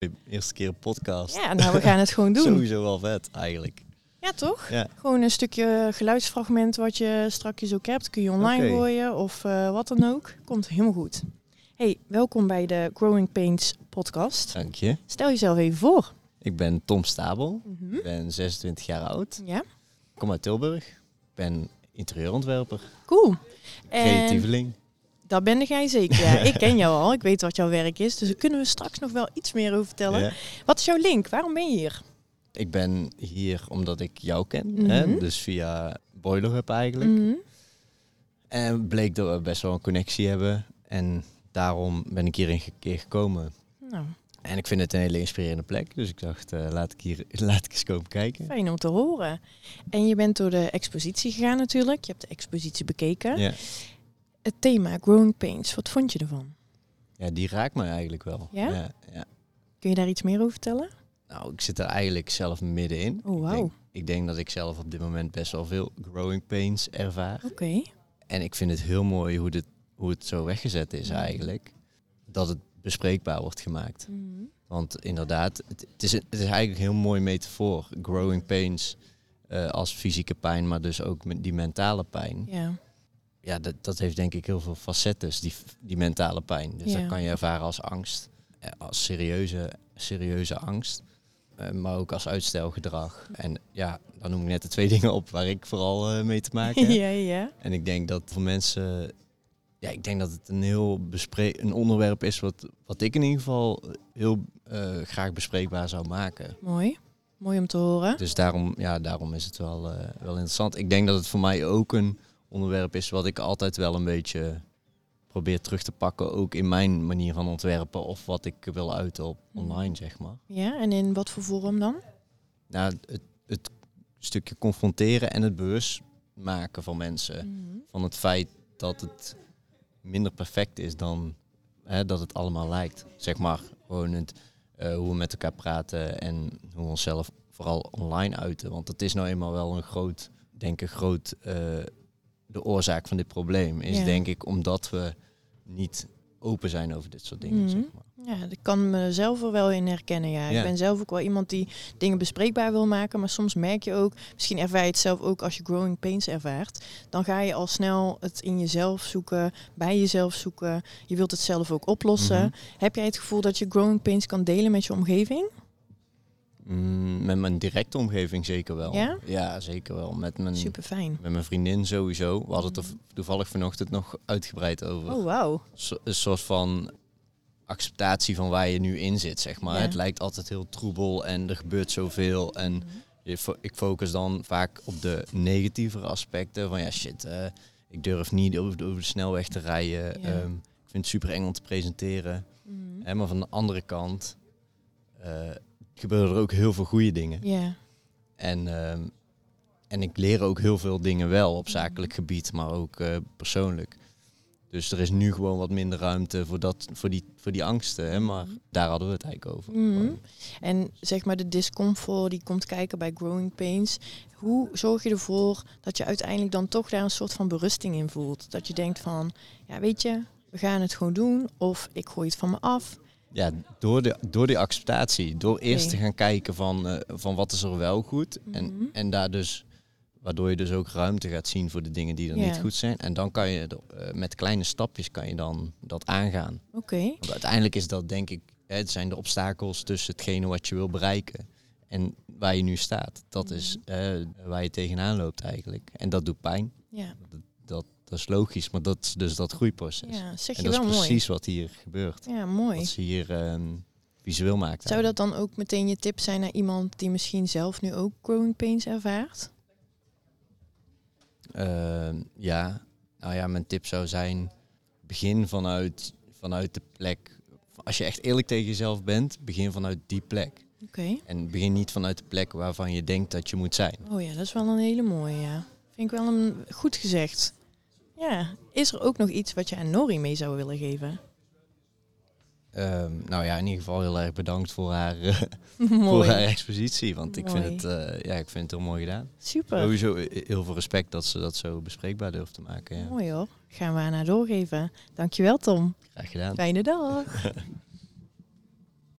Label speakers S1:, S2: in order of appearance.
S1: De eerste keer een podcast.
S2: Ja, nou, we gaan het gewoon doen.
S1: Sowieso wel vet eigenlijk.
S2: Ja, toch?
S1: Ja.
S2: Gewoon een stukje geluidsfragment wat je strakjes ook hebt. Kun je online
S1: Oké.
S2: gooien of eh, wat dan ook. Komt helemaal goed. Hey, welkom bij de Growing Pains podcast.
S1: Dank je.
S2: Stel jezelf even voor.
S1: Ik ben Tom Stabel.
S2: Mhm.
S1: Ik ben 26 jaar oud.
S2: Ja,
S1: Ik kom uit Tilburg. Ik ben interieurontwerper.
S2: cool. En
S1: Creatieveling.
S2: dat ben jij zeker. Ja, ik ken jou al. Ik weet wat jouw werk is. Dus daar kunnen we straks nog wel iets meer over vertellen.
S1: Ja.
S2: Wat is jouw link? Waarom ben je hier?
S1: Ik ben hier omdat ik jou ken.
S2: Mhm.
S1: hè? Dus via Boiler Hub eigenlijk.
S2: Mhm.
S1: En bleek dat we best wel een connectie hebben. En daarom ben ik hier een ge- keer gekomen.
S2: Nou,
S1: En ik vind het een hele inspirerende plek. Dus ik dacht, eh, laat, ik hier, laat ik eens komen kijken.
S2: fijn om te horen. En je bent door de expositie gegaan natuurlijk. Je hebt de expositie bekeken.
S1: Ja.
S2: Het thema Growing Pains, wat vond je ervan?
S1: ja, die raakt mij eigenlijk wel.
S2: Ja?
S1: Ja, ja.
S2: Kun je daar iets meer over vertellen?
S1: Nou, ik zit er eigenlijk zelf middenin.
S2: Oh,
S1: Ik,
S2: wauw.
S1: denk,
S2: Oké.
S1: ik denk dat ik zelf op dit moment best wel veel growing pains ervaar.
S2: Oh.
S1: En ik vind het heel mooi hoe, dit, hoe het zo weggezet is eigenlijk. Dat het bespreekbaar wordt gemaakt.
S2: Mhm.
S1: Want inderdaad, het, het is, het is eigenlijk een heel mooi metafoor. Growing pains eh, als fysieke pijn, maar dus ook met die mentale pijn.
S2: Ja.
S1: Ja, dat, dat heeft denk ik heel veel facettes, die, f- die mentale pijn. Dus
S2: Ja.
S1: dat kan je ervaren als angst, eh, als serieuze, serieuze angst. eh, maar ook als uitstelgedrag. En ja, dan noem ik net de twee dingen op waar ik vooral eh, mee te maken heb.
S2: ja, ja.
S1: En ik denk dat voor mensen. Ja, ik denk dat het een heel bespre- een onderwerp is wat, wat ik in ieder geval heel eh, graag bespreekbaar zou maken.
S2: Mooi. Mooi om te horen.
S1: Dus daarom, ja, daarom is het wel, eh, wel interessant. Ik denk dat het voor mij ook een onderwerp is wat ik altijd wel een beetje probeer terug te pakken. Ook in mijn manier van ontwerpen of wat ik wil uiten op online, zeg maar.
S2: Ja, en in wat voor vorm dan?
S1: Nou, het, het stukje confronteren en het bewust maken van mensen.
S2: Mhm.
S1: van het feit dat het minder perfect is dan hè, dat het allemaal lijkt. Zeg maar gewoon het, eh, hoe we met elkaar praten en hoe we onszelf vooral online uiten. Want dat is nou eenmaal wel een groot, denk ik, groot eh, de oorzaak van dit probleem. Is
S2: Ja.
S1: denk ik omdat we niet open zijn over dit soort dingen.
S2: Mhm.
S1: Zeg maar.
S2: Ja, ik kan mezelf er wel in herkennen. Ja.
S1: Ja.
S2: Ik ben zelf ook wel iemand die dingen bespreekbaar wil maken. Maar soms merk je ook, misschien ervaar je het zelf ook als je growing pains ervaart. Dan ga je al snel het in jezelf zoeken, bij jezelf zoeken. Je wilt het zelf ook oplossen.
S1: Mhm.
S2: Heb jij het gevoel dat je growing pains kan delen met je omgeving?
S1: Mm, met mijn directe omgeving zeker wel.
S2: Ja?
S1: zeker wel. Met mijn,
S2: Super fijn.
S1: met mijn vriendin sowieso. We hadden het er toevallig vanochtend nog uitgebreid over.
S2: Oh, wauw.
S1: so- een soort van acceptatie van waar je nu in zit, zeg maar.
S2: Ja.
S1: Het lijkt altijd heel troebel en er gebeurt zoveel.
S2: Mhm.
S1: En je fo- ik focus dan vaak op de negatievere aspecten. Van ja, shit, eh, ik durf niet over de, over de snelweg te rijden.
S2: Ja.
S1: Ehm, ik vind het super eng om te presenteren.
S2: Mhm.
S1: Hè, maar van de andere kant eh, gebeuren er ook heel veel goede dingen.
S2: Ja.
S1: En, ehm, en ik leer ook heel veel dingen wel op zakelijk gebied, maar ook eh, persoonlijk. Dus er is nu gewoon wat minder ruimte voor, dat, voor, die, voor die angsten. Hè? Maar daar hadden we het eigenlijk over.
S2: Mhm. En zeg maar de discomfort die komt kijken bij growing pains. Hoe zorg je ervoor dat je uiteindelijk dan toch daar een soort van berusting in voelt? Dat je denkt van, ja weet je, we gaan het gewoon doen. Of ik gooi het van me af.
S1: Ja, door, de, door die acceptatie. Door eerst
S2: Oké.
S1: te gaan kijken van, eh, van wat is er wel goed.
S2: Mhm.
S1: En, en daar dus, waardoor je dus ook ruimte gaat zien voor de dingen die er
S2: Ja.
S1: niet goed zijn. En dan kan je er, eh, met kleine stapjes kan je dan dat aangaan.
S2: Oké,
S1: Want uiteindelijk is dat denk ik, hè, het zijn de obstakels tussen hetgene wat je wil bereiken en waar je nu staat. Dat is
S2: Mhm.
S1: eh, waar je tegenaan loopt eigenlijk. En dat doet pijn.
S2: ja.
S1: Dat, dat, dat is logisch, maar dat is dus dat groeiproces.
S2: ja, zeg
S1: en
S2: je
S1: dat
S2: wel
S1: is
S2: mooi.
S1: precies wat hier gebeurt.
S2: Ja, mooi.
S1: Wat ze hier ehm, visueel maakt.
S2: Zou dat
S1: eigenlijk.
S2: dan ook meteen je tip zijn naar iemand die misschien zelf nu ook growing pains ervaart?
S1: Ehm, ja, nou ja, mijn tip zou zijn, begin vanuit, vanuit de plek. Als je echt eerlijk tegen jezelf bent, begin vanuit die plek.
S2: Oké.
S1: En begin niet vanuit de plek waarvan je denkt dat je moet zijn.
S2: Oh ja, dat is wel een hele mooie, ja. Vind ik wel een, goed gezegd. Ja, is er ook nog iets wat je aan Nori mee zou willen geven?
S1: Ehm, nou ja, in ieder geval heel erg bedankt voor haar, eh, voor haar
S2: Mooi.
S1: expositie. Want ik vind,
S2: Mooi.
S1: het, eh, ja, ik vind het heel mooi gedaan.
S2: Super.
S1: Sowieso eh, heel veel respect dat ze dat zo bespreekbaar durft te maken. Ja.
S2: Mooi hoor. Gaan we haar naar doorgeven. nou Dankjewel Tom.
S1: Graag gedaan.
S2: Fijne dag.